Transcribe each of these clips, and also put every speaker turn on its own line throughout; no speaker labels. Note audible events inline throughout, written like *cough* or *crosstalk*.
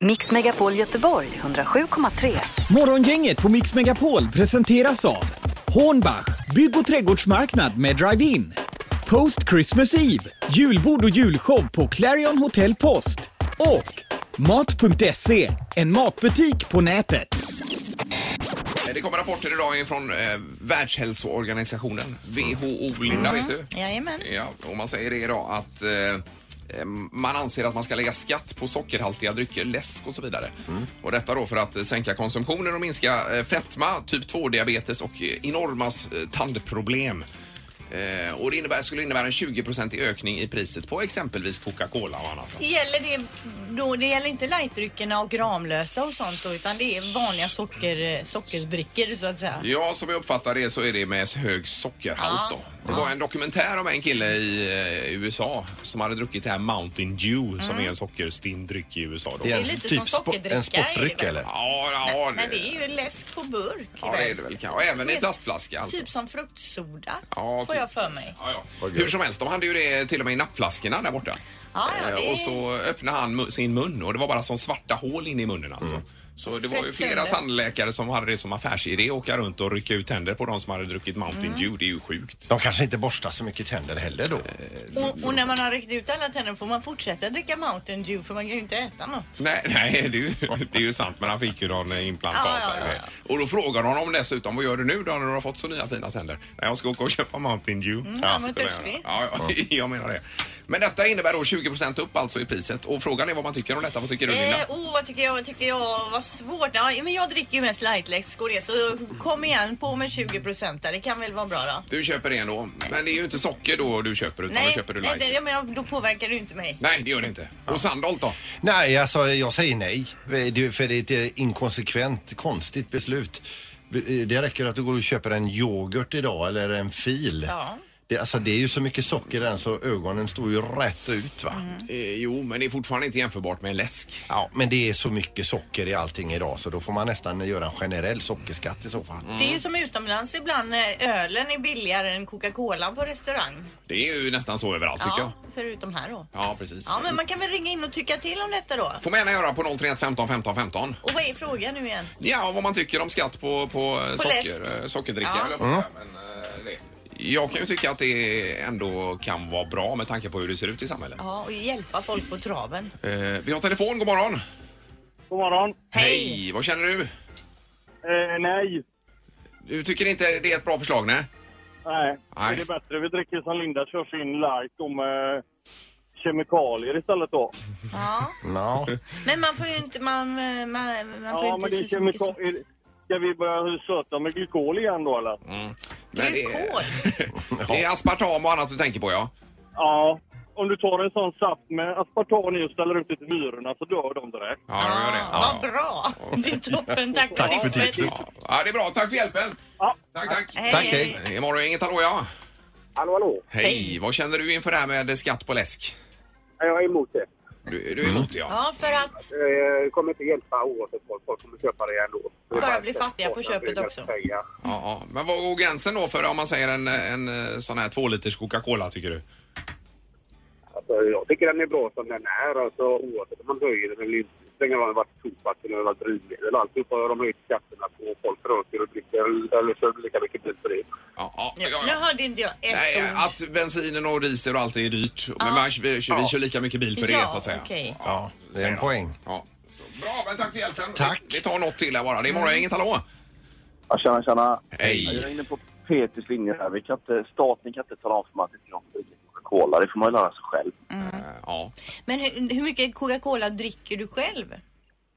Mix Megapol Göteborg 107,3.
Morgongänget på Mix Megapol presenteras av Hornbach, bygg och trädgårdsmarknad med drive-in. Post Christmas Eve, julbord och julshow på Clarion Hotel Post. Och Mat.se, en matbutik på nätet.
Eh, Det kommer rapporter idag från eh, Världshälsoorganisationen, WHO, Linda, vet du?
Jajamän.
Ja, och man säger det idag att eh, eh, man anser att man ska lägga skatt på sockerhaltiga drycker, läsk och så vidare. Och detta då för att eh, sänka konsumtionen och minska eh, fetma, typ 2-diabetes och eh, enorma eh, tandproblem. Eh, och det innebär, skulle innebära en 20 i ökning i priset på exempelvis Coca-Cola och annat.
Gäller det, då, det gäller inte lightdryckerna och Gramlösa och sånt då, utan det är vanliga socker, sockerbrickor så att säga.
Ja, som jag uppfattar det så är det med hög sockerhalt
Ja.
då. Det var en dokumentär om en kille i eh, USA som hade druckit det här Mountain Dew som
Mm.
är en sockerstinn dryck i USA då.
Det
Ja,
är lite som sockerdricka,
En
är det
sportdryck
väl?
eller?
ja,
Men det är ju läsk på burk.
ja, det är det väl kanske. Och även i
Vet-
plastflaska alltså.
Typ som fruktsoda,
Ja,
får
typ.
jag för mig.
Ja, ja. Hur som helst, de hade ju det till och med i nappflaskorna där borta.
Ja, ja,
Eh,
det är-
Och så öppnade han mu- sin mun och det var bara som svarta hål inne i munnen alltså. Så det var ju
Fett
flera
sönder.
tandläkare som hade det som affärsidé, åka runt och rycka ut tänder på de som hade druckit Mountain
Mm.
Dew. Det är ju sjukt.
De kanske inte borstar så mycket tänder heller då.
Och, och när man har räckt ut alla tänder får man fortsätta dricka Mountain Dew för man kan ju inte äta något.
Nej, nej det, är ju, det är ju sant, men han fick ju någon implantat.
Ja, ja, ja,
där. Och då frågar de honom dessutom, vad gör du nu då när du har fått så nya fina tänder? Nej, jag ska åka och köpa Mountain Dew.
Mm, han var
så kan jag
törstig.
göra. Ja, ja, *laughs* jag menar det. Men detta innebär då 20 upp alltså i priset. Och frågan är vad man tycker om detta. Vad tycker du Linda?
Eh, oh, vad tycker jag, vad tycker jag, vad svårt. Ja, men jag dricker ju mest lightläsk och det, så kom igen på med 20 procent där. Det kan väl vara bra då.
Du köper det ändå. Men det är ju inte socker då du köper, utan då köper du
nej,
light.
det, jag menar, då påverkar det ju inte mig.
Nej, det gör det inte. Och Sandholt då?
Nej, alltså jag säger nej. Det- För det är ett eh, inkonsekvent, konstigt beslut. Det räcker att du går och köper en yoghurt idag eller en fil.
Ja.
Det, alltså det är ju så mycket socker i den så ögonen står ju rätt ut va.
Mm.
Eh, jo, men det är fortfarande inte jämförbart med en läsk.
Ja, men det är så mycket socker i allting idag så då får man nästan göra en generell sockerskatt i så fall.
Det är
Mm.
ju som utomlands ibland när ölen är billigare än Coca-Cola på restaurang.
Det är ju nästan så överallt tycker jag.
förutom här då.
Ja, precis.
Ja, men man kan väl ringa in och tycka till om detta då.
Får man gärna göra på 031 15 15 15.
Och vad är frågan nu igen?
Ja, och vad man tycker om skatt på, på, eh,
På
socker, eh, sockerdricka.
Ja.
eller vad man säger, Men, eh, det. Jag kan ju tycka att det ändå kan vara bra med tanke på hur det ser ut i samhället.
Ja, och hjälpa folk på traven.
Eh, vi har telefon, god morgon.
God morgon.
Hej.
Vad känner du?
Eh, nej.
Du tycker inte det är ett bra förslag, nej?
Nej.
Nej.
Det är bättre. Vi dricker som Linda kör sin light om eh, kemikalier istället då.
Ja.
Ja,
Men man får ju inte, man, man, man får
Ja,
inte
men det är
se så mycket som...
kemikalier. Ska vi börja söta med glykol igen då eller?
Men det, är,
Glykol.
det är aspartam och annat du tänker på, ja.
Ja. Om du tar en sån saft med aspartam i och ställer ut det till myrorna så dör de direkt.
Ja, de gör det.
Ah, Vad bra! Det är toppen, tack,
Tack för
Lisbeth.
tipset.
Ja. Ja, det är bra. Tack för hjälpen.
Ja.
Tack, tack.
Hej.
Tack, hej.
Eh, Imorgon är inget hallå, ja.
Hallå, hallå.
Hej. Vad känner du inför det här med skatt på läsk?
Jag är emot det.
Du, du är emot det, ja.
Ja, för att...
Eh, Det kommer inte hjälpa oavsett vad folk kommer köpa det ändå. Det är
Bara
ett
bli
sätt
fattiga på
att
köpet
bygga
också.
pengar.
ja, ja. Men vad går gränsen då för om man säger en, en eh, sån här två liters Coca-Cola, tycker du?
Alltså, jag tycker den är bra som den är. Alltså, oavsett om man höjer den eller inte. Det spelar ingen roll om det har varit tobak eller om det har varit drivmedel. Alltihopa har de höjt skatterna på. Folk röker och dricker eller kör lika mycket bil för det.
Ja, ja,
Nu,
ja,
nu
ja.
hörde inte jag ett
Nej,
ord.
eh, att bensinen och riset och allt är dyrt. Men man, vi, vi kör lika mycket bil för det,
Ja,
så att säga.
okej.
ja det är en poäng.
Ja. Så, bra, men tack för hjälpen.
Tack.
Vi, vi tar något till här bara. Det är imorgon inget hallå.
Ja, tjena, tjena.
Hej.
Jag är inne på Peters linje här. Vi kan inte, staten kan inte tala om för mig att det är någon som dricker Coca-Cola. Det får man ju lära sig själv.
Eh, Ja.
Men hur, hur mycket Coca-Cola dricker du själv?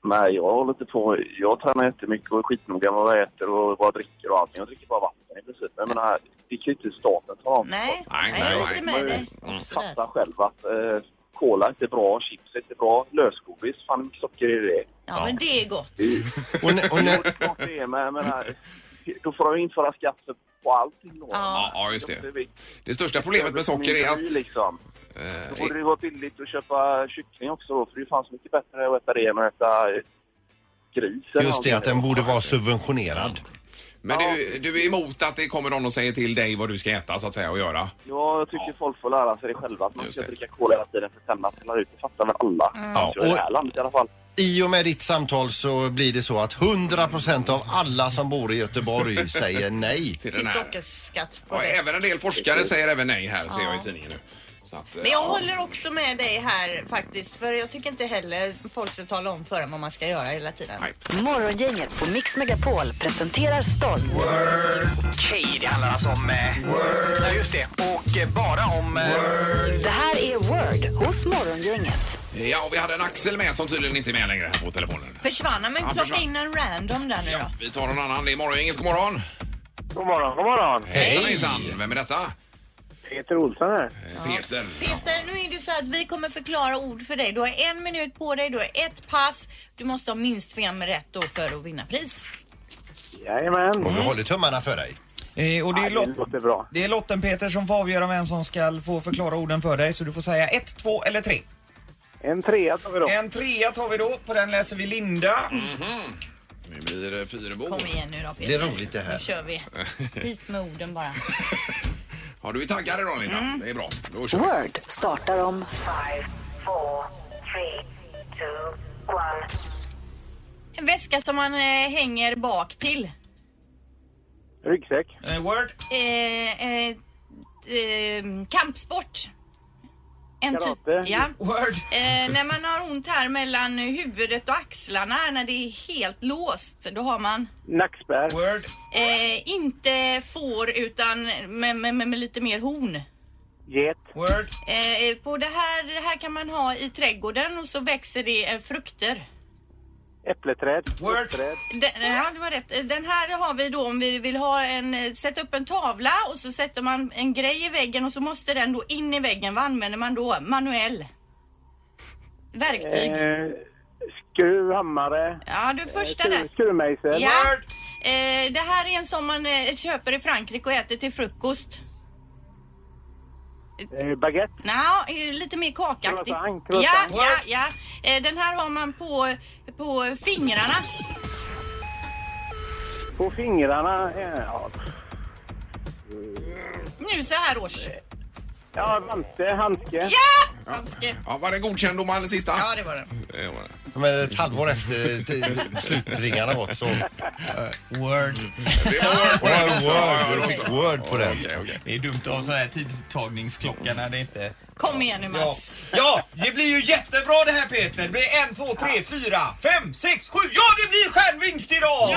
Nej, jag håller inte på. Jag tränar jättemycket och är skitnoga med vad jag äter och vad jag dricker och allting. Jag dricker bara vatten i princip. Men jag menar, det kan ju inte staten tala om.
Nej,
Nej,
jag
nej,
är lite
nej.
med dig.
Mm.
också där.
Fattar själv att eh, cola är inte bra, chips är inte bra, lösgodis, fan hur mycket socker är det?
Ja, men det är gott.
*laughs* Och, när- och,
Det
när,
är klart det är, men jag menar, då får de ju införa skatt på allting då.
Ja.
Ja, ja, just det.
Vi-
Det största problemet med socker är
Ekonomi,
att...
Liksom.
eh,
Då borde det vara billigt att köpa kyckling också då, för det är ju fan så mycket bättre att äta det än att äta eh, gris. eller
just det,
någonting.
att den borde vara subventionerad.
Men du, du är emot att det kommer någon och säger till dig vad du ska äta så att säga och göra?
Ja, jag tycker folk får lära sig det själva. Att man
Just
ska
det.
dricka cola hela tiden för tänderna trillar ut. Det fattar väl alla.
Ja,
Så I det här landet i alla fall.
I och med ditt samtal så blir det så att 100% av alla som bor
*laughs*
i Göteborg säger nej.
till den
Till
här.
sockerskatt på
Ja,
väst.
även en del forskare säger även nej här, ser jag i tidningen nu. Så att, eh,
Men jag
ja.
håller också med dig här faktiskt. För jag tycker inte heller folk ska tala om för en vad man ska göra hela tiden.
Nej.
Morgongänget på Mix Megapol presenterar stolt.
Okej, det handlar alltså om... Eh, ja, just det. Och eh, bara om... Eh,
Det här är Word hos Morgongänget.
Ja, och vi hade en Axel med som tydligen inte är med längre här på telefonen.
Försvann han? men
Ja,
plocka
försvann.
in en random där nu då.
Ja, vi tar någon annan. Det är Morgongänget. God morgon!
God morgon, god morgon.
Hejsan hejsan! Vem är detta?
Peter Olsson här.
Eh, Peter.
Peter, nu är det ju så att vi kommer förklara ord för dig. Du har en minut på dig, du har ett pass. Du måste ha minst fem rätt då för att vinna pris.
Jajamän.
Mm.
Och vi håller tummarna för dig.
Eh, och det, är
Ja,
Lot-
det låter bra.
det är lotten Peter som får avgöra vem som ska få förklara orden för dig. Så du får säga ett, två eller tre.
En trea tar vi då.
En trea tar vi då. På den läser vi Linda.
Nu blir det Fyrebo.
Kom igen nu då Peter.
Det är roligt det här.
Nu kör
*laughs*
vi. Hit med orden bara.
Ja, du är taggad idag Linda.
Mm.
Det är bra. Då kör vi.
Word startar om
En väska som man eh, hänger bak till.
Ryggsäck.
Eh, word.
Eh, eh, eh, kampsport. En typ-
Karate.
ja.
Word.
Eh, när man har ont här mellan huvudet och axlarna, när det är helt låst, då har man
Nackspärr.
Word.
eh, inte får utan med, med, med, med lite mer horn.
Get.
Word.
Eh, på det här, det här kan man ha i trädgården och så växer det eh, frukter.
Äppleträd.
Word.
Den, ja, det var rätt. Eh, Den här har vi då om vi vill ha en, eh, sätta upp en tavla och så sätter man en grej i väggen och så måste den då in i väggen. Vad använder man då? Manuell. Verktyg.
Eh, skruv, hammare.
Ja, du första där.
Skruv, skruvmejsel.
Ja. Eh, det här är en som man eh, köper i Frankrike och äter till frukost.
Eh, baguette.
Nja, eh, lite mer kakaktigt.
Croissant,
Ja,
croissant.
ja, ja. Eh, den här har man på, på fingrarna.
På fingrarna. eh, Ja,
Nu så här års.
ja vante, handske.
Ja! Handske.
Ja, var det godkänd dom eller sista?
Ja, det var den.
det var det.
Men ett halvår efter till-
*laughs*
slutringarna gått så...
Word.
Det var word på den
*laughs*
Word,
också. Ja,
word,
ja,
du
också.
fick word på den.
Okej, okej.
Det är dumt att ha sån här tidtagningsklocka när det inte...
Kom igen nu
Ja.
Mats.
ja, det blir ju jättebra det här Peter. Det blir en, två, tre, fyra, fem, sex, sju. Ja, det blir stjärnvinst idag!
Oj,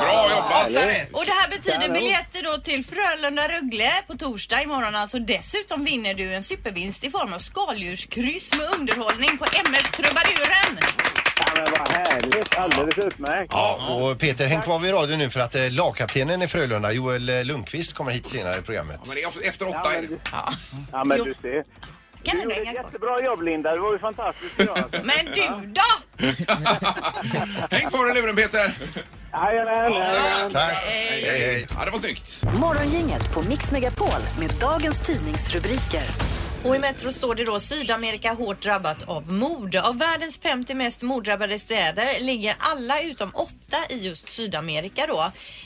bra jobbat!
Åtta rätt.
Och det här betyder biljetter då till Frölunda-Rögle på torsdag imorgon alltså. Dessutom vinner du en supervinst i form av skaldjurskryss med underhållning på MS Trubaduren.
Ja, men vad härligt. Alldeles utmärkt.
Ja, och Peter, häng kvar vid radion nu för att eh, lagkaptenen i Frölunda, Joel eh, Lundqvist, kommer hit senare i programmet.
Ja, Men det är alltså efter
Ja,
åtta är
men,
det.
du- ja, men
Jo.
du ser.
Kan
Du
den
gjorde ett
hänga kvar?
jättebra jobb, Linda. Det var ju fantastiskt bra. alltså.
Men du då?
*laughs* Häng kvar i luren Peter!
Jajamän, jajamän.
Tack.
Hej, hej, hej. Ja, det var snyggt.
Morgongänget på Mix Megapol med dagens tidningsrubriker.
Och i Metro står det då Sydamerika hårt drabbat av mord. Av världens 50 mest morddrabbade städer ligger alla utom åtta i just Sydamerika då.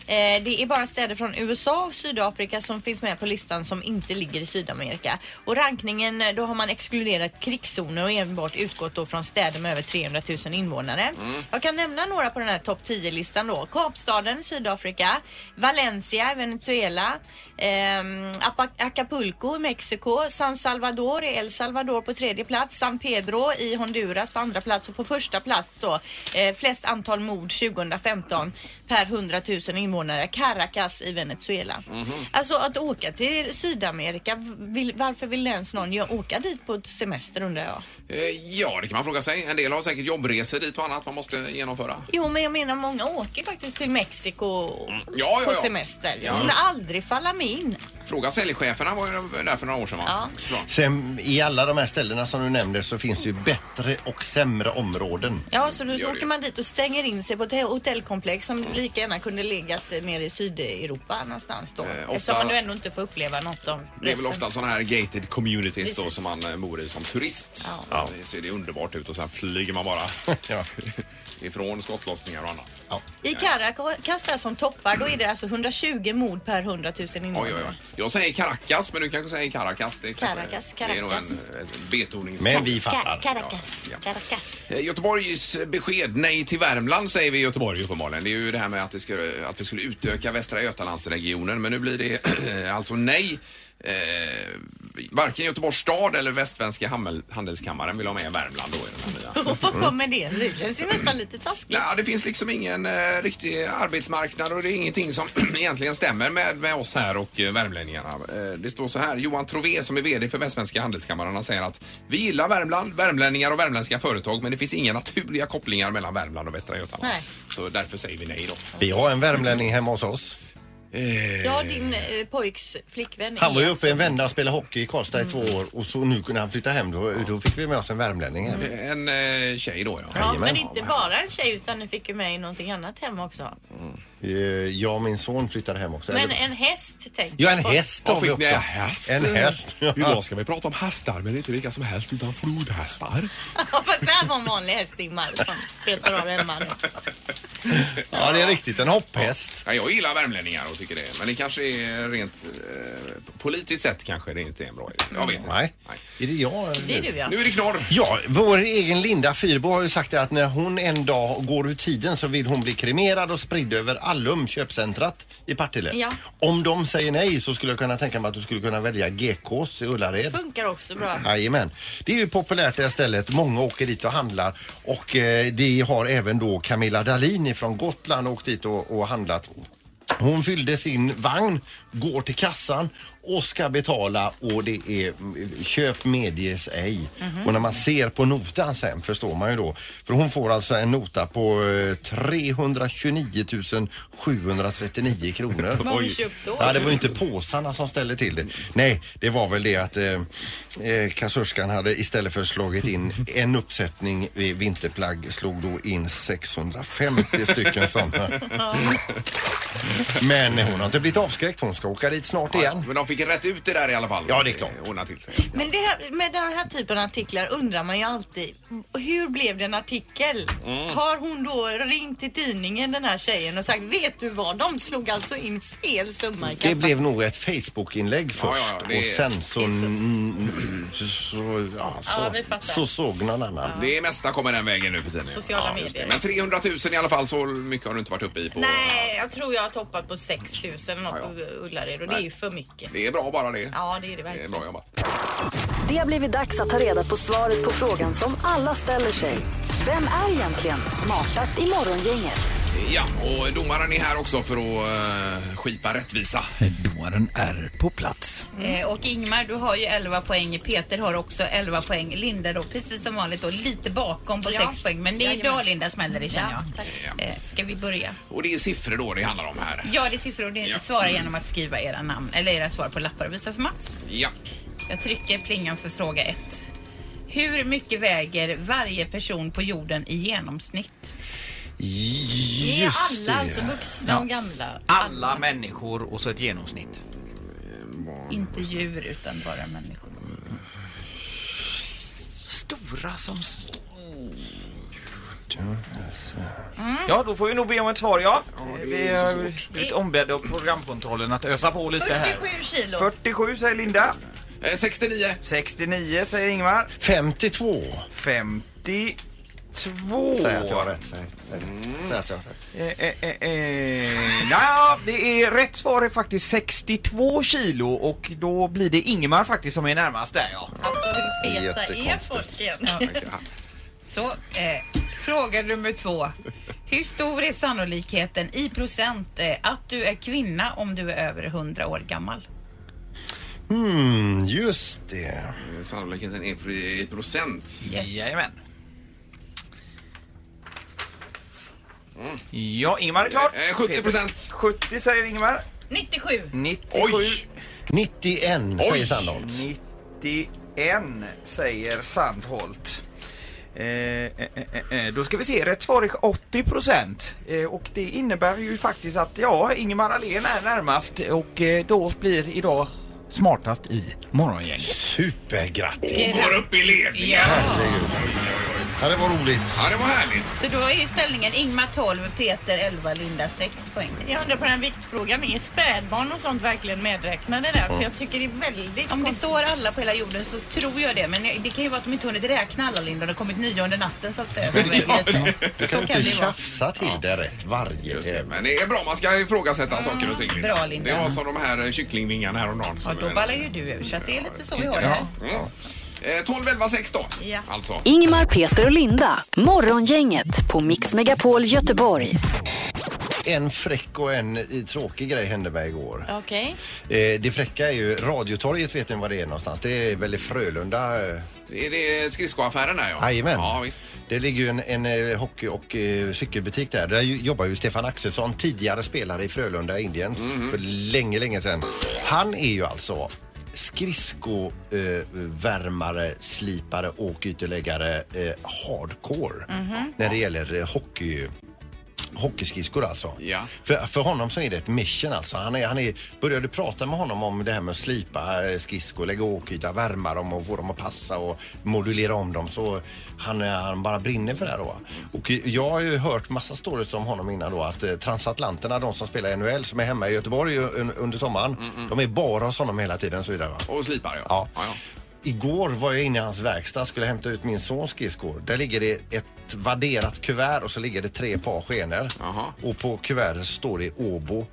Eh, det är bara städer från USA och Sydafrika som finns med på listan som inte ligger i Sydamerika. Och rankningen, eh, då har man exkluderat krigszoner och enbart utgått då från städer med över 300 000 invånare. Jag kan nämna några på den här topp 10-listan då. Kapstaden, Sydafrika, Valencia, Venezuela, ehm, Apa- Acapulco i Mexiko, San Salvador i El Salvador på tredje plats, San Pedro i Honduras på andra plats och på första plats då eh, flest antal mord 2015 per 100 000 invånare, Caracas i Venezuela.
Mhm.
Alltså att åka till Sydamerika, vill, varför vill ens någon gö- åka dit på ett semester undrar jag?
Eh, Ja, det kan man fråga sig. En del har säkert jobbresor dit och annat man måste genomföra.
Jo, men jag menar många åker faktiskt till Mexiko
Ja, Mm. ja,
på
ja.
semester.
Ja.
Det skulle aldrig falla mig in.
Fråga säljcheferna var ju där för några år sedan va?
Ja.
Bra.
Sen, I alla de här ställena som du nämnde så finns det ju bättre och sämre områden.
Ja, så då så
det.
åker man dit och stänger in sig på ett hotellkomplex som lika gärna kunde legat eh, nere i Sydeuropa någonstans då.
Eh, ofta-
Eftersom man då ändå inte får uppleva något av resten.
Det är väl ofta sådana här gated communities då
Precis.
som man eh, bor i som turist.
Ja.
Ja. Det ser det underbart ut och sen flyger man bara
*laughs* Ja.
*laughs* ifrån skottlossningar och annat.
I Caracas där som toppar, då är det alltså 120 mord per 100 000 invånare.
Oj, oj,
*laughs*
oj. Jag säger Caracas, men du kanske säger Caracas. Det är kanske-
Caracas,
Det är nog en,
Caracas.
en betoning.
Men vi
Ka-
fattar.
Caracas, Caracas.
Eh, Göteborgs besked nej till Värmland säger vi i Göteborg uppenbarligen. Det är ju det här med att, det skulle, att vi skulle utöka Västra Götalandsregionen men nu blir det *clears throat* alltså nej. Eh, varken Göteborgs stad eller Västsvenska Hammel- handelskammaren vill ha med Värmland då i den här nya.
Varför kommer det? Det känns ju nästan lite taskigt.
Ja, det finns liksom ingen eh, riktig arbetsmarknad och det är ingenting som *clears throat* egentligen stämmer med, med oss här och eh, värmlänningarna. Eh, det står så här, Johan Trové som är VD för Västsvenska Handelskammaren han säger att vi gillar Värmland, värmlänningar och värmländska företag men det finns inga naturliga kopplingar mellan Värmland och Västra Götaland.
Nej.
Så därför säger vi nej då.
Vi har en värmlänning hemma hos oss.
Ja, din eh, pojks flickvän.
Han var ju
är alltså-
uppe i en vända och spelade hockey i Karlstad i två år och så nu kunde han flytta hem. Då, då fick vi med oss en värmlänning hem.
En eh, tjej då ja.
Ja, men
Jajamän.
inte bara en tjej utan ni fick ju med i någonting annat hem också.
Eh, Jag och min son flyttade hem också.
Men
Eller-
en häst tänk.
Ja, en häst
Vad
har vi
fick
också.
ni? Häst?
En häst.
Idag ska vi prata om hästar men inte vilka som helst utan flodhästar.
*laughs* Ja, fast det här var en vanlig häst Ingmar som betar av hemma nu.
*laughs* Ja, det är riktigt. En hopphäst.
Ja, jag gillar värmlänningar och tycker det. Men det kanske är rent eh, politiskt sett kanske det inte är en bra idé. Jag vet inte.
Nej. Är det jag?
Det är du ja.
Nu är det knorr.
Ja, vår egen Linda Fyrbo har ju sagt det att när hon en dag går ur tiden så vill hon bli kremerad och spridd över Allum köpcentrat i Partille.
Ja.
Om de säger nej så skulle jag kunna tänka mig att du skulle kunna välja GKs i Ullared.
Funkar också bra.
Jajamän. Det är ju populärt det här stället. Många åker dit och handlar. Och eh, det har även då Camilla Dahlin från Gotland åkt dit och, och handlat. Hon fyllde sin vagn, går till kassan och ska betala och det är mm, köp medges ej. Och när man ser på notan sen förstår man ju då. För hon får alltså en nota på eh, 329 739 kronor.
Vad har hon köpt då?
Ja, det var ju inte påsarna som ställde till det. Nej, det var väl det att eh, eh, kassörskan hade istället för
*laughs*
slagit in en uppsättning i vinterplagg slog då in 650 stycken sådana.
*laughs*
Men hon har inte blivit avskräckt. Hon ska åka dit snart igen.
Men de fick rätt ut det där i alla fall.
Ja, det är klart.
Eh, Ordna till sig.
Men det här, med den här typen av artiklar undrar man ju alltid, hur blev det en artikel?
Mm.
Har hon då ringt till tidningen den här tjejen och sagt, vet du vad, de slog alltså in fel summa i kassan.
Det blev nog ett Facebook-inlägg först
Ja, ja, ja, det-
och sen så, mm, så, ja,
Ja,
så,
vi fattar.
så såg någon annan.
Det mesta kommer den vägen nu för tiden.
Sociala
ja, just det.
medier.
Men 300 000 i alla fall, så mycket har du inte varit uppe i på.
Nej, jag tror jag har toppat på 6 000 något
Ja,
på Ullared och det är ju för mycket.
Det är bra bara det.
Ja, det är det
Det är
verkligen.
bra jobbat.
Det har blivit dags att ta reda på svaret på frågan som alla ställer sig. Vem är egentligen smartast i Morgongänget?
Ja, och domaren är här också för att eh, skipa rättvisa.
Domaren är på plats.
Mm.
Eh, Och Ingmar, du har ju 11 poäng. Peter har också 11 poäng. Linda då, precis som vanligt, då, lite bakom på
Ja.
6 poäng. Men det är
Jajamän.
idag Linda smäller det känner jag.
tack.
Ja.
Eh, Ska vi börja?
Och det är siffror då det handlar om här.
Ja, det är siffror. och Ni
Ja.
svarar genom att skriva era namn eller era svar på lappar och visa för Mats.
Ja.
Jag trycker plingan för fråga 1. Hur mycket väger varje person på jorden i genomsnitt?
Det är
Just
alla,
det.
alltså vuxna och gamla.
Alla människor och så ett genomsnitt.
Inte djur utan bara människor.
Stora som små. Ja, då får vi nog be om ett svar, ja. Vi har blivit ombedda av programkontrollen att ösa på lite här.
47 kilo.
47 säger Linda.
Eh, 69.
69 säger Ingmar.
52
52.
säger att jag har rätt. Säg, säg, säg att jag har rätt.
Eh, eh, eh, eh. Ja, det är rätt svar är faktiskt 62 kilo och då blir det Ingmar faktiskt som är närmast där ja.
Alltså hur feta är
Jättekonstigt.
folk egentligen?
Så, eh, fråga nummer två. Hur stor är sannolikheten i procent eh, att du är kvinna om du är över 100 år gammal?
Mm, just det.
Eh, Sannolikheten är i procent.
Yes.
Jajamän. Mm. Ja, Ingmar är klar.
Eh, 70 procent.
70 säger Ingmar.
97.
97.
Oj!
91 säger Sandholt.
91 säger Sandholt. Eh, eh, eh, eh, då ska vi se, rätt svar är 80 procent. Eh, och det innebär ju faktiskt att ja, Ingemar Ahlén är närmast och eh, då blir idag smartast i Morgongänget.
Supergrattis!
Går upp i ledningen.
Ja.
Herregud. Ja, det var roligt.
Ja, det var härligt.
Så då är ju ställningen Ingmar 12, Peter 11, Linda 6 poäng.
Jag undrar på den viktfrågan, är spädbarn och sånt verkligen medräknade där? För jag tycker det är väldigt
Om det står alla på hela jorden så tror jag det. Men det kan ju vara att de inte hunnit räkna alla Linda. Det har kommit nya under natten så att säga. som väger lite.
Du
Så
kan
kan
inte
det vara.
tjafsa till det rätt varje tävling.
Men det är bra, man ska ifrågasätta
Mm.
saker och ting.
bra, Linda.
Det var som de här eh, kycklingvingarna häromdagen.
Ja,
som-
då ballar ju du ur. Så att det är lite så vi har det här.
Ja. Mm. Eh, 12, 11, 6 då. Alltså.
Ingmar, Peter och Linda. Morgongänget på Mix Megapol Göteborg.
En fräck och en eh, tråkig grej hände mig igår.
Okej.
Eh, det fräcka är ju Radiotorget vet ni var det är någonstans. Det är väl i Frölunda. Eh.
Är det skridskoaffären där ja?
Jajamän.
Ja, visst.
Det ligger ju en, en eh, hockey och eh, cykelbutik där. Där ju- jobbar ju Stefan Axelsson, tidigare spelare i Frölunda Indians
Mhm.
för länge, länge sedan. Han är ju alltså skridskovärmare, eh, värmare, slipare och ytterläggare eh, hardcore
Mhm.
när det gäller eh, hockey hockeyskridskor alltså.
Ja.
För, för honom så är det ett mission alltså. Han, är, han är, började prata med honom om det här med att slipa eh, skridskor, lägga åkyta, värma dem och få dem att passa och modulera om dem. Så han, eh, han bara brinner för det här då. Och eh, jag har ju hört massa stories om honom innan då att eh, transatlanterna, de som spelar i NHL som är hemma i Göteborg eh, un- under sommaren, de är bara hos honom hela tiden och så vidare va.
Och slipar ja.
Igår var jag inne i hans verkstad skulle hämta ut min sons skridskor. Där ligger det ett vadderat kuvert och så ligger det tre par skenor. Och på kuvertet står det Åbo.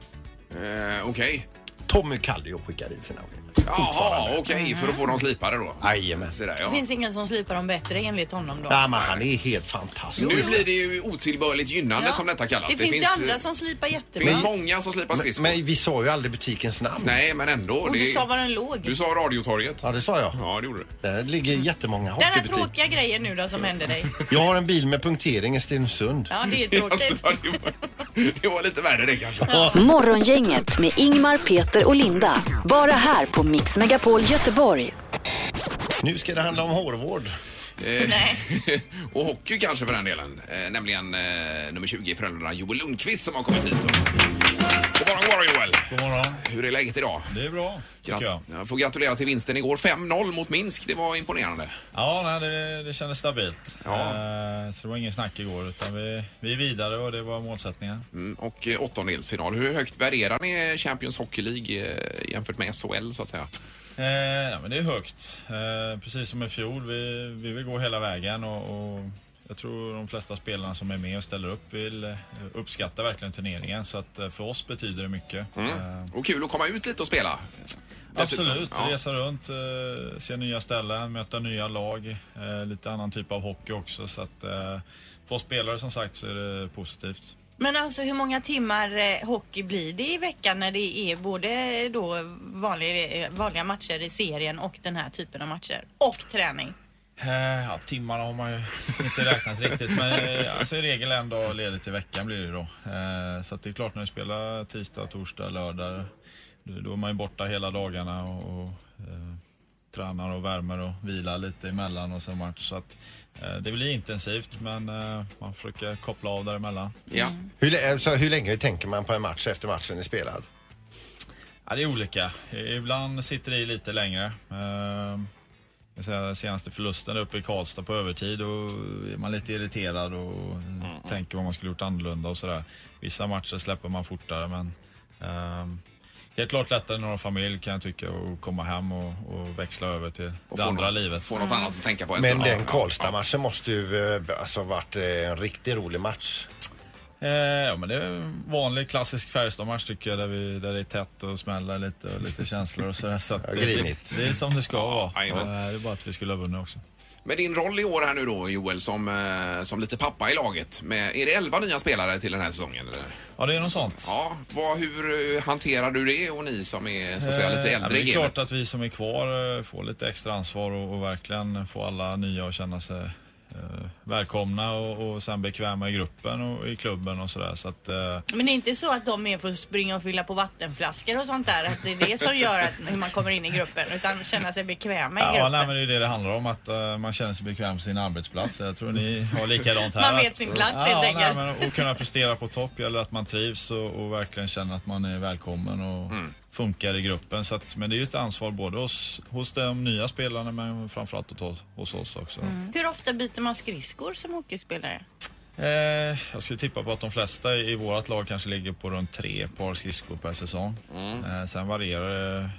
Eh, Okej.
Tommy Kallio skickar dit sina skenor.
Jaha, okej. För att få dem slipade då?
Jajamän.
Så där, ja.
Det Mm. finns ingen som slipar dem bättre enligt honom då?
Nej, men han är helt fantastisk.
Nu blir det ju otillbörligt gynnande
Ja.
som detta kallas. eh,
Det, finns ju andra som slipar
Det
jättebra.
finns många som slipar skridskor.
Men vi sa ju aldrig butikens namn.
Nej, men ändå.
Och
det-
du sa var den låg.
Du sa radiotorget.
Ja, det sa jag.
Ja, Mm. det gjorde du.
Där ligger jättemånga
Den här
hockeybutiker.
tråkiga grejen nu då som
*laughs*
hände dig.
Jag har en bil med punktering i Stenungsund.
Ja, det är
Alltså,
tråkigt.
*laughs* Det var lite värre det kanske.
Morgongänget med Ingmar, Peter och Linda. Bara här på Mix Megapol Göteborg.
Nu ska det handla om hårvård.
Nej. *laughs* och hockey kanske för den delen. Eh, nämligen eh, nummer 20 i Frölunda, Joel Lundqvist som har kommit hit. Och... God morgon, god morgon Joel! God morgon. Hur är läget idag?
Det är bra, tycker jag.
Grat- jag får gratulera till vinsten igår. 5-0 mot Minsk, det var imponerande.
Ja, nej, det, det kändes stabilt.
Ja.
Eh, så det var ingen snack igår, utan vi, vi är vidare och det var målsättningen.
Mm, och eh, åttondelsfinal. Hur högt värderar ni Champions Hockey League eh, jämfört med SHL så att säga?
Eh, ja, men det är högt, eh, precis som i fjol. Vi, vi vill gå hela vägen och, och jag tror de flesta spelarna som är med och ställer upp vill eh, uppskatta verkligen turneringen. Så att, eh, för oss betyder det mycket. Eh,
Och kul att komma ut lite och spela. Dessutom.
Absolut,
Ja.
resa runt, eh, se nya ställen, möta nya lag, eh, lite annan typ av hockey också. Så att, eh, för oss spelare som sagt så är det positivt.
Men alltså hur många timmar eh, hockey blir det i veckan när det är både då vanliga, eh, vanliga matcher i serien och den här typen av matcher? Och träning.
Eh, Ja, timmarna har man ju inte räknat riktigt men eh, alltså i regel en dag ledigt i veckan blir det ju då. Eh, Så att det är klart när du spelar tisdag, torsdag, lördag då då är man ju borta hela dagarna och, och eh, tränar och värmer och vilar lite emellan och sen match. Så att eh, det blir intensivt men eh, man försöker koppla av däremellan.
Ja.
Hur, lä- alltså, hur länge tänker man på en match efter matchen är spelad?
Ja, det är olika. I- Ibland sitter det i lite längre. Ehm, jag säger, senaste förlusten uppe i Karlstad på övertid och är man lite irriterad och tänker vad man skulle gjort annorlunda och sådär. Vissa matcher släpper man fortare men ehm, helt klart lättare när man har familj kan jag tycka att komma hem och, och växla över till det
få
andra
nå-
livet.
få något annat
att tänka
Men den Karlstad-matchen måste ju eh, alltså varit eh, en riktigt rolig match.
Eh, ja, men det är en vanlig klassisk Färjestad-match tycker jag där, vi, där det är tätt och smäller lite och lite känslor och sådär. Så att
Ja,
det-
grinigt.
Det, det är som det ska vara.
jajamän.
Eh, Det är bara att vi skulle ha vunnit också.
Men din roll i år här nu då Joel som, eh, som lite pappa i laget. Med, är det 11 nya spelare till den här säsongen? Eller?
Ja, det är något sånt.
Ja, vad, hur eh, hanterar du det och ni som är så att säga,
Eh,
lite
ja, men
äldre i
Det är
gamet?
klart att vi som är kvar eh, får lite extra ansvar och, och verkligen får alla nya att känna sig eh, välkomna och, och sen bekväma i gruppen och i klubben och sådär. Så att, eh,
Men det är inte så att de är för att springa och fylla på vattenflaskor och sånt där. Att det är det som gör att, hur man kommer in i gruppen. Utan känna sig bekväma i
Ja,
gruppen.
nej, men det är det det handlar om, att eh, man känner sig bekväm på sin arbetsplats. Jag tror ni har likadant här.
Man vet
att-
sin plats,
ja,
helt
nej,
enkelt.
men Och kunna prestera på topp, eller att man trivs och, och verkligen känner att man är välkommen och
Mm.
funkar i gruppen. Så att, men det är ju ett ansvar både hos, hos de nya spelarna men framförallt hos, oss- hos oss också.
Hur ofta byter man skridskor? väskor som hockeyspelare?
Eh, jag skulle tippa på att de flesta i vårt lag kanske ligger på runt tre par skridskor per säsong. Eh, sen varierar det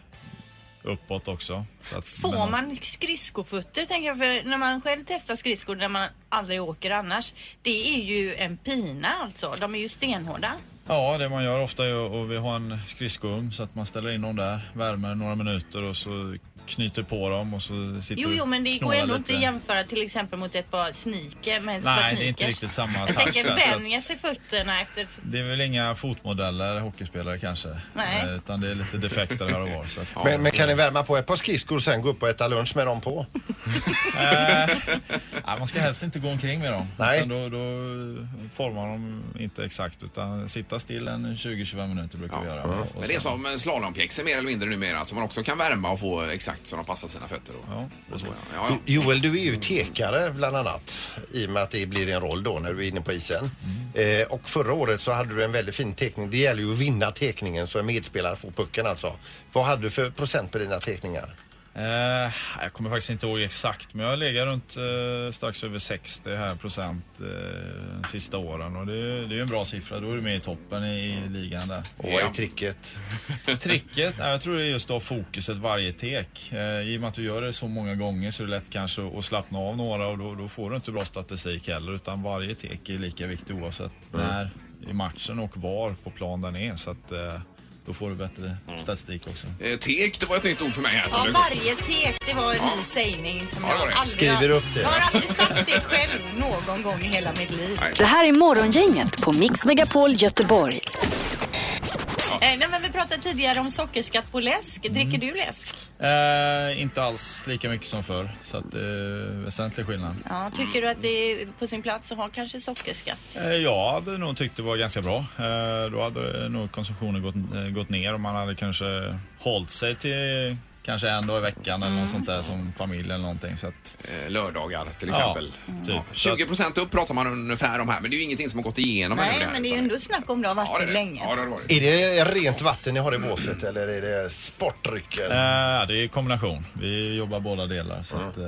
uppåt också. Så att,
Får
men-
man skridskofötter tänker jag? För när man själv testar skridskor när man aldrig åker annars. Det är ju en pina alltså. De är ju stenhårda.
Ja, det man gör ofta är att- och vi har en skridskougn så att man ställer in dem där, värmer några minuter och så knyter på dem och så sitter
Jo,
du
jo,
och
men det går
knålar
ändå
Typ lite.
inte att jämföra till exempel mot ett par sneaker med ett par
Nej,
sneakers.
det är inte riktigt samma
Jag
touch
tänker
där, så
vänja sig fötterna efter...
Det är väl inga fotmodeller, hockeyspelare kanske.
Nej.
Eh, Utan det är lite defekter här och var. Så att,
Men, men kan ni värma på ett par skridskor och sen gå upp och äta lunch med dem på?
Eh, nej, man ska helst inte gå omkring med dem.
Nej.
Utan Då, då formar de inte exakt utan sitta still en 20-25 minuter brukar vi göra. Och- och
Men det är
sen-
som slalompjäxor mer eller mindre numera som man också kan värma och få exakt så de passar sina fötter. Och,
ja,
Ja, ja.
Joel, du är ju tekare bland annat i och med att det blir en roll då när du är inne på isen. Eh, och förra året så hade du en väldigt fin tekning. Det gäller ju att vinna tekningen så en medspelare får pucken alltså. Vad hade du för procent på dina tekningar?
Eh, jag kommer faktiskt inte ihåg exakt, men jag ligger runt eh, strax över 60 här procent eh, sista åren. Och det, är- det är ju en bra siffra. Då är du med i toppen i, i ligan där.
Och vad är tricket?
Tricket? Nej, jag tror det är just att ha fokuset varje tek. Eh, I och med att du gör det så många gånger så är det lätt kanske att slappna av några och då, då får du inte bra statistik heller. Utan varje tek är lika viktig oavsett när i matchen och var på plan den är. Så att, eh, då får du bättre statistik också.
Eh, Tek, det var ett nytt ord för mig här.
Ja, varje tek, det var en ny sägning som
det var
jag
det.
aldrig har-
Skriver upp det.
Jag har aldrig sagt det själv någon gång i hela mitt liv.
Det här är Morgongänget på Mix Megapol Göteborg.
Eh, nej, men vi pratade tidigare om sockerskatt på läsk.
Mm.
Dricker du läsk?
Eh, inte alls lika mycket som förr, så att, eh, väsentlig skillnad.
Ja, tycker du att det är på sin plats att ha kanske sockerskatt?
Eh, jag hade nog tyckt det var ganska bra. Eh, då hade nog konsumtionen gått, eh, gått ner och man hade kanske hållit sig till kanske en dag i veckan eller något sånt där som familj eller någonting. Så att,
Eh, lördagar till exempel.
Ja, typ. Så att,
20 procent upp pratar man ungefär om här, men det är ju ingenting som har gått igenom ännu
Nej,
det här.
men det är ju ändå snack om det har varit länge.
Ja, det har det varit.
Är det rent vatten ni har i båset eller är det sportdryck? eller?
eh, det är kombination. Vi jobbar båda delar. Så att, eh,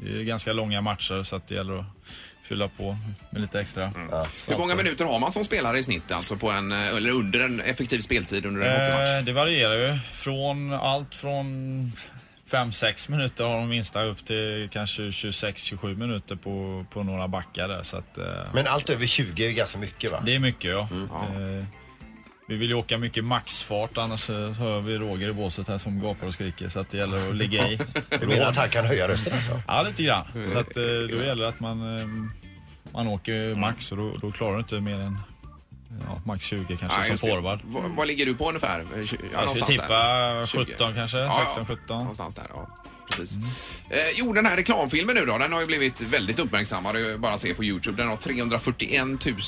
det är ganska långa matcher så att det gäller att fylla på med lite extra. Så
Hur många
att, eh,
minuter har man som spelare i snitt alltså på en, eh, eller under en effektiv speltid under en hockeymatch?
Eh, det varierar ju. Från allt från 5-6 minuter har de minsta upp till kanske 26-27 minuter på, på några backar där. Så att, eh,
Men allt över 20 är ganska mycket va?
det är mycket ja.
Mm.
Eh, vi vill ju åka mycket maxfart annars eh, hör vi Roger i båset här som gapar och skriker så att det gäller att
*laughs*
ligga i.
Du menar att han kan höja rösten alltså?
Ja, lite grann.
Mm.
Så att, eh, då gäller det att man, eh, man åker
Mm.
max och då, då klarar du inte mer än ja, max 20 kanske
Nej,
som
just det.
forward.
Vad- Vad ligger du på ungefär? Eh, tju- ja,
Jag skulle
någonstans
tippa 17 kanske, Mm.
Ja, ja.
16-17.
Någonstans där, ja. Precis. Eh, jo, den här reklamfilmen nu då, den har ju blivit väldigt uppmärksammad. Det är ju bara att se på Youtube. Den har 341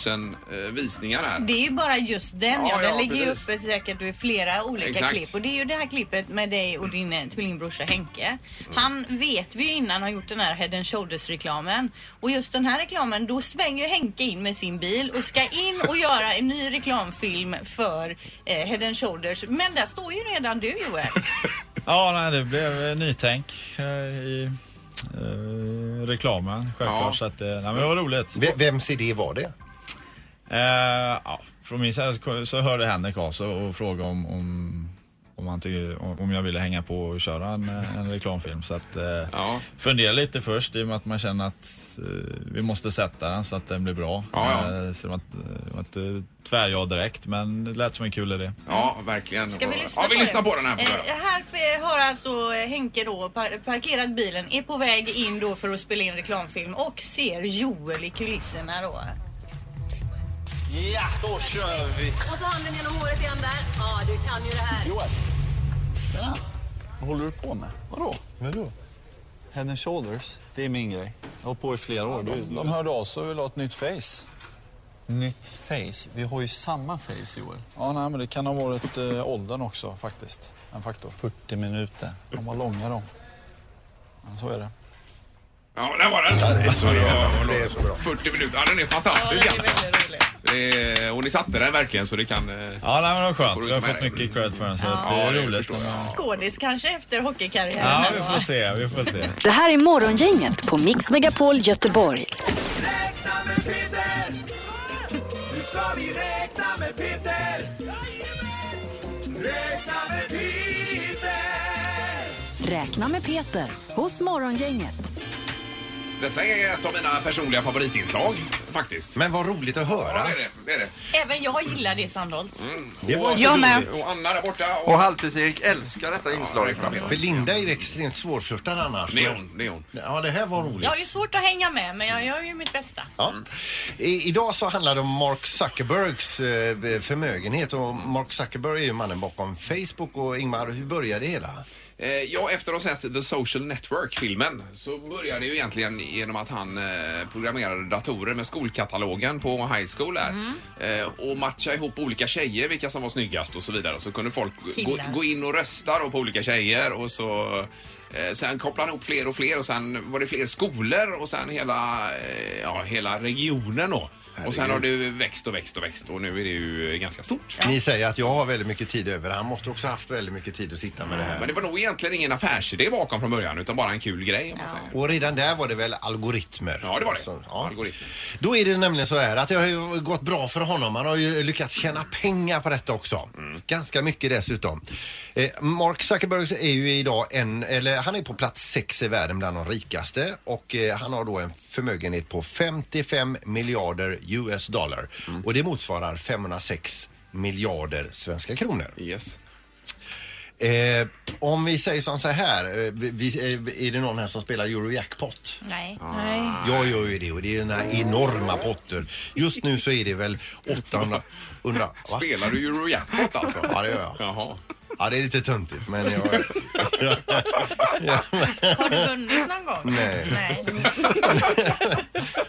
000 eh, visningar här.
Det är ju bara just den.
Ja,
Ja, den
ja,
ligger ju
precis.
uppe säkert i flera olika
Exakt.
klipp. Och det är ju det här klippet med dig och din eh, tvillingbrorsa
Mm.
Henke. Han vet vi ju innan har gjort den här Head and Shoulders-reklamen. Och just den här reklamen, då svänger ju Henke in med sin bil och ska in och göra en ny reklamfilm för eh, Head and Shoulders. Men där står ju redan du Joel.
Ja, nej, det blev eh, nytänk eh, i eh, reklamen självklart.
Ja.
Så att, eh, nej, men det var roligt.
V- vems idé var det?
Eh, ja, från min sida så- så hörde Henrik av sig och frågade om, om, om, han tycker, om om jag ville hänga på och köra en, eh, en reklamfilm. Så att, eh, Fundera lite först i och med att man känner att eh, vi måste sätta den så att den blir bra.
Ja, ja.
Eh, så det var inte- det var inte tvärja direkt men det lät som en kul idé.
Ja, verkligen.
Ska vi lyssna,
ja, vi
på,
lyssnar
den?
på den här.
Eh, här f- har alltså eh, Henke då par- parkerat bilen, är på väg in då för att spela in reklamfilm och ser Joel i kulisserna då.
Ja, då kör vi!
Och så handen genom håret igen där. Ja, du kan ju det här.
Joel! Tjena! Vad håller du på med? Vadå? Vadå? Head and shoulders, det är min grej. Jag har hållit på i flera år. de, de hörde av sig och ville ha ett nytt face. Nytt face? Vi har ju samma face, Joel. Ja, nej, men det kan ha varit eh, åldern också faktiskt. En faktor. 40 minuter. De var långa de. Men så är det.
Ja, där var den. det är så bra. 40 minuter. Ja, den är fantastisk alltså. Det är, och ni satte den verkligen så det kan... eh,
Ja, nej, men det var
Får
skönt.
du
Vi har
inte med
fått
dig?
mycket cred för den så
Ja.
att det
Ja,
är
det
roligt.
Skådis kanske efter hockeykarriären.
Ja,
här
vi
då.
får se. Vi får se.
Det här är Morgongänget på Mix Megapol Göteborg.
Nu ska vi räkna med Peter! Räkna med Peter!
Räkna med Peter hos Morgongänget.
Detta är ett av mina personliga favoritinslag faktiskt.
Men vad roligt att höra.
Ja, det är det. det, är det.
Även jag gillar det Sandholt.
Det var
Jag
inte
med.
roligt.
Och Anna där borta.
Och
Halvtids-Erik älskar detta inslaget.
För Linda är ju extremt svårflörtad annars.
Det är hon,
det är hon.
Ja, det här var roligt.
Jag har ju svårt att hänga med men jag gör ju mitt bästa.
Ja. I, idag så handlar det om Mark Zuckerbergs eh, förmögenhet och Mark Zuckerberg är ju mannen bakom Facebook och Ingmar, hur började det hela?
Eh, ja, efter att ha sett The Social Network-filmen så började det ju egentligen genom att han eh, programmerade datorer med skolkatalogen på high school där. Eh, och matcha ihop olika tjejer, vilka som var snyggast och så vidare. Och Så kunde folk gå,
Killar.
gå in och rösta då på olika tjejer och så eh, Sen kopplade han ihop fler och fler och sen var det fler skolor och sen hela, eh, ja, hela regionen då. Och sen har det ju växt och växt och växt och nu är det ju eh, ganska stort.
Ni säger att jag har väldigt mycket tid över. Han måste också ha haft väldigt mycket tid att sitta med det här.
Men det var nog egentligen ingen affärsidé bakom från början utan bara en kul grej om man säger.
Och redan där var det väl algoritmer?
Ja, det var det.
Så-
Algoritmer.
Då är det nämligen så här att det har ju gått bra för honom. Han har ju lyckats tjäna pengar på detta också.
Mm.
Ganska mycket dessutom. Eh, Mark Zuckerberg är ju idag en, eller han är på plats sex i världen bland de rikaste och eh, han har då en förmögenhet på 55 miljarder US dollar
Mm.
och det motsvarar 506 miljarder svenska kronor.
Yes.
Eh, om vi säger som så här, eh, vi, vi, eh, är det någon här som spelar Eurojackpot?
Nej.
Jag gör ju det och det är några enorma potter. Just nu så är det väl 800... 100, va?
Spelar du Eurojackpot alltså?
*laughs* Ja, det gör jag.
Jaha.
Ja, det är lite töntigt men jag...
Har du vunnit någon gång?
Nej.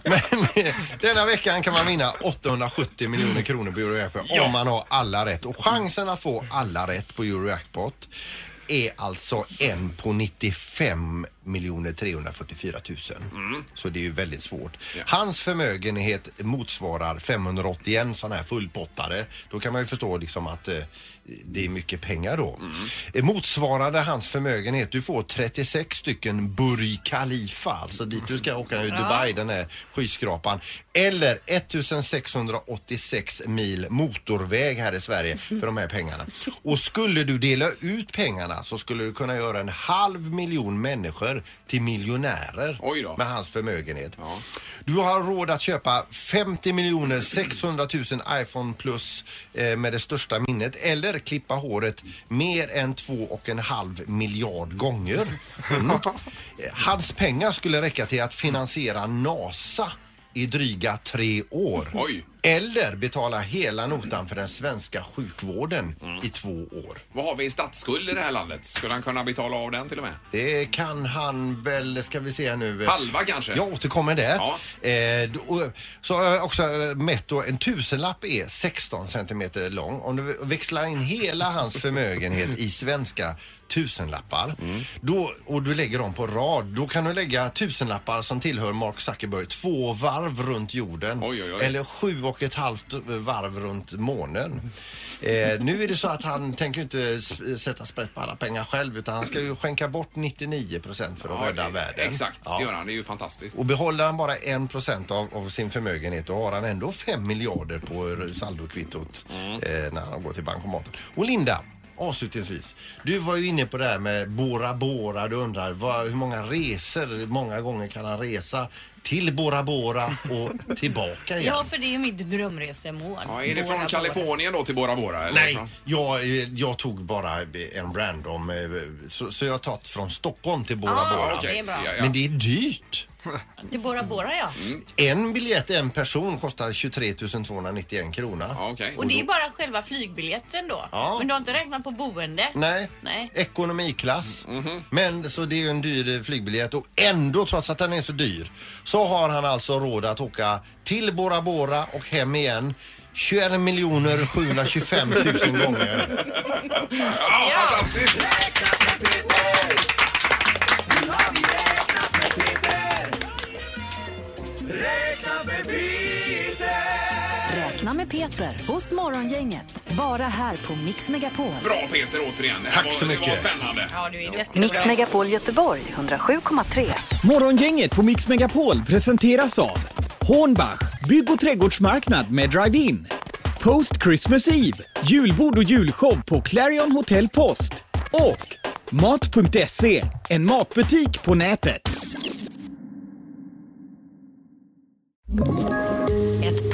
Men eh, denna veckan kan man vinna 870 miljoner kronor på Eurojackpot om man har alla rätt. Och chansen att få alla rätt på Eurojackpot är alltså en på 95 344 000. Så det är ju väldigt svårt. Hans förmögenhet motsvarar 581 sådana här fullpottare. Då kan man ju förstå liksom att eh, det är mycket pengar då. Eh, Motsvarande hans förmögenhet, du får 36 stycken Burj Khalifa, alltså dit du ska åka i
Ja.
Dubai, den här skyskrapan. Eller 1686 mil motorväg här i Sverige för de här pengarna. Och skulle du dela ut pengarna så skulle du kunna göra en halv miljon människor till miljonärer med hans förmögenhet. Du har råd att köpa 50 miljoner 600 000 iPhone Plus eh, med det största minnet eller klippa håret mer än två och en halv miljard gånger. Mm. Eh, Hans pengar skulle räcka till att finansiera NASA i dryga tre år.
Oj.
Eller betala hela notan för den svenska sjukvården i två år.
Vad har vi i statsskuld i det här landet? Skulle han kunna betala av den till och med?
Det kan han väl, ska vi se här nu.
Halva kanske?
Jag återkommer där.
Ja.
Eh, då- så har jag också eh, mätt då, en tusenlapp är 16 centimeter lång. Om du växlar in hela hans förmögenhet i svenska tusenlappar då, och du lägger dem på rad, då kan du lägga tusenlappar som tillhör Mark Zuckerberg två varv runt jorden. Eller sju och ett halvt varv runt månen. Eh, nu är det så att han tänker inte s- sätta sprätt på alla pengar själv utan han ska ju skänka bort 99 procent för att rädda
det,
världen.
Exakt,
Ja.
det gör han. Det är ju fantastiskt.
Och behåller han bara 1% av, av sin förmögenhet då har han ändå 5 miljarder på saldokvittot
Mm.
eh, när han går till bankomaten. Och Linda, avslutningsvis. Du var ju inne på det här med Bora Bora. Du undrar vad, hur många resor, hur många gånger kan han resa till Bora Bora och tillbaka igen?
Ja, för det är ju mitt drömresemål.
Ja, är det
Bora
från
Bora.
Kalifornien då till Bora Bora? Eller?
Nej, jag, eh, jag tog bara en random. eh, Så, så jag har tagit från Stockholm till Bora
Ah,
Bora.
okej. Det är bra. Ja, ja.
Men det är dyrt.
Till Bora Bora ja.
En biljett, en person kostar 23 291 kronor.
Och det är bara själva flygbiljetten då.
Ja.
Men du har inte räknat på boende?
Nej.
Nej.
Ekonomiklass.
Mm, mhm.
Men så det är ju en dyr eh, flygbiljett och ändå trots att den är så dyr så har han alltså råd att åka till Bora Bora och hem igen 21 miljoner 725 000 gånger.
Ja, fantastiskt! Räkna med Peter!
Räkna med Peter hos Morgongänget. Bara här på Mix Megapol.
Bra Peter återigen. Det här
Tack
var,
så
Det var
mycket.
spännande.
Ja, du är
Mix Megapol Göteborg 107,3.
Morgongänget på Mix Megapol presenteras av Hornbach,
Bygg och trädgårdsmarknad med drive-in. Post Christmas Eve, julbord och julshow på Clarion Hotel Post. Och Mat.se, en matbutik på nätet.
Ett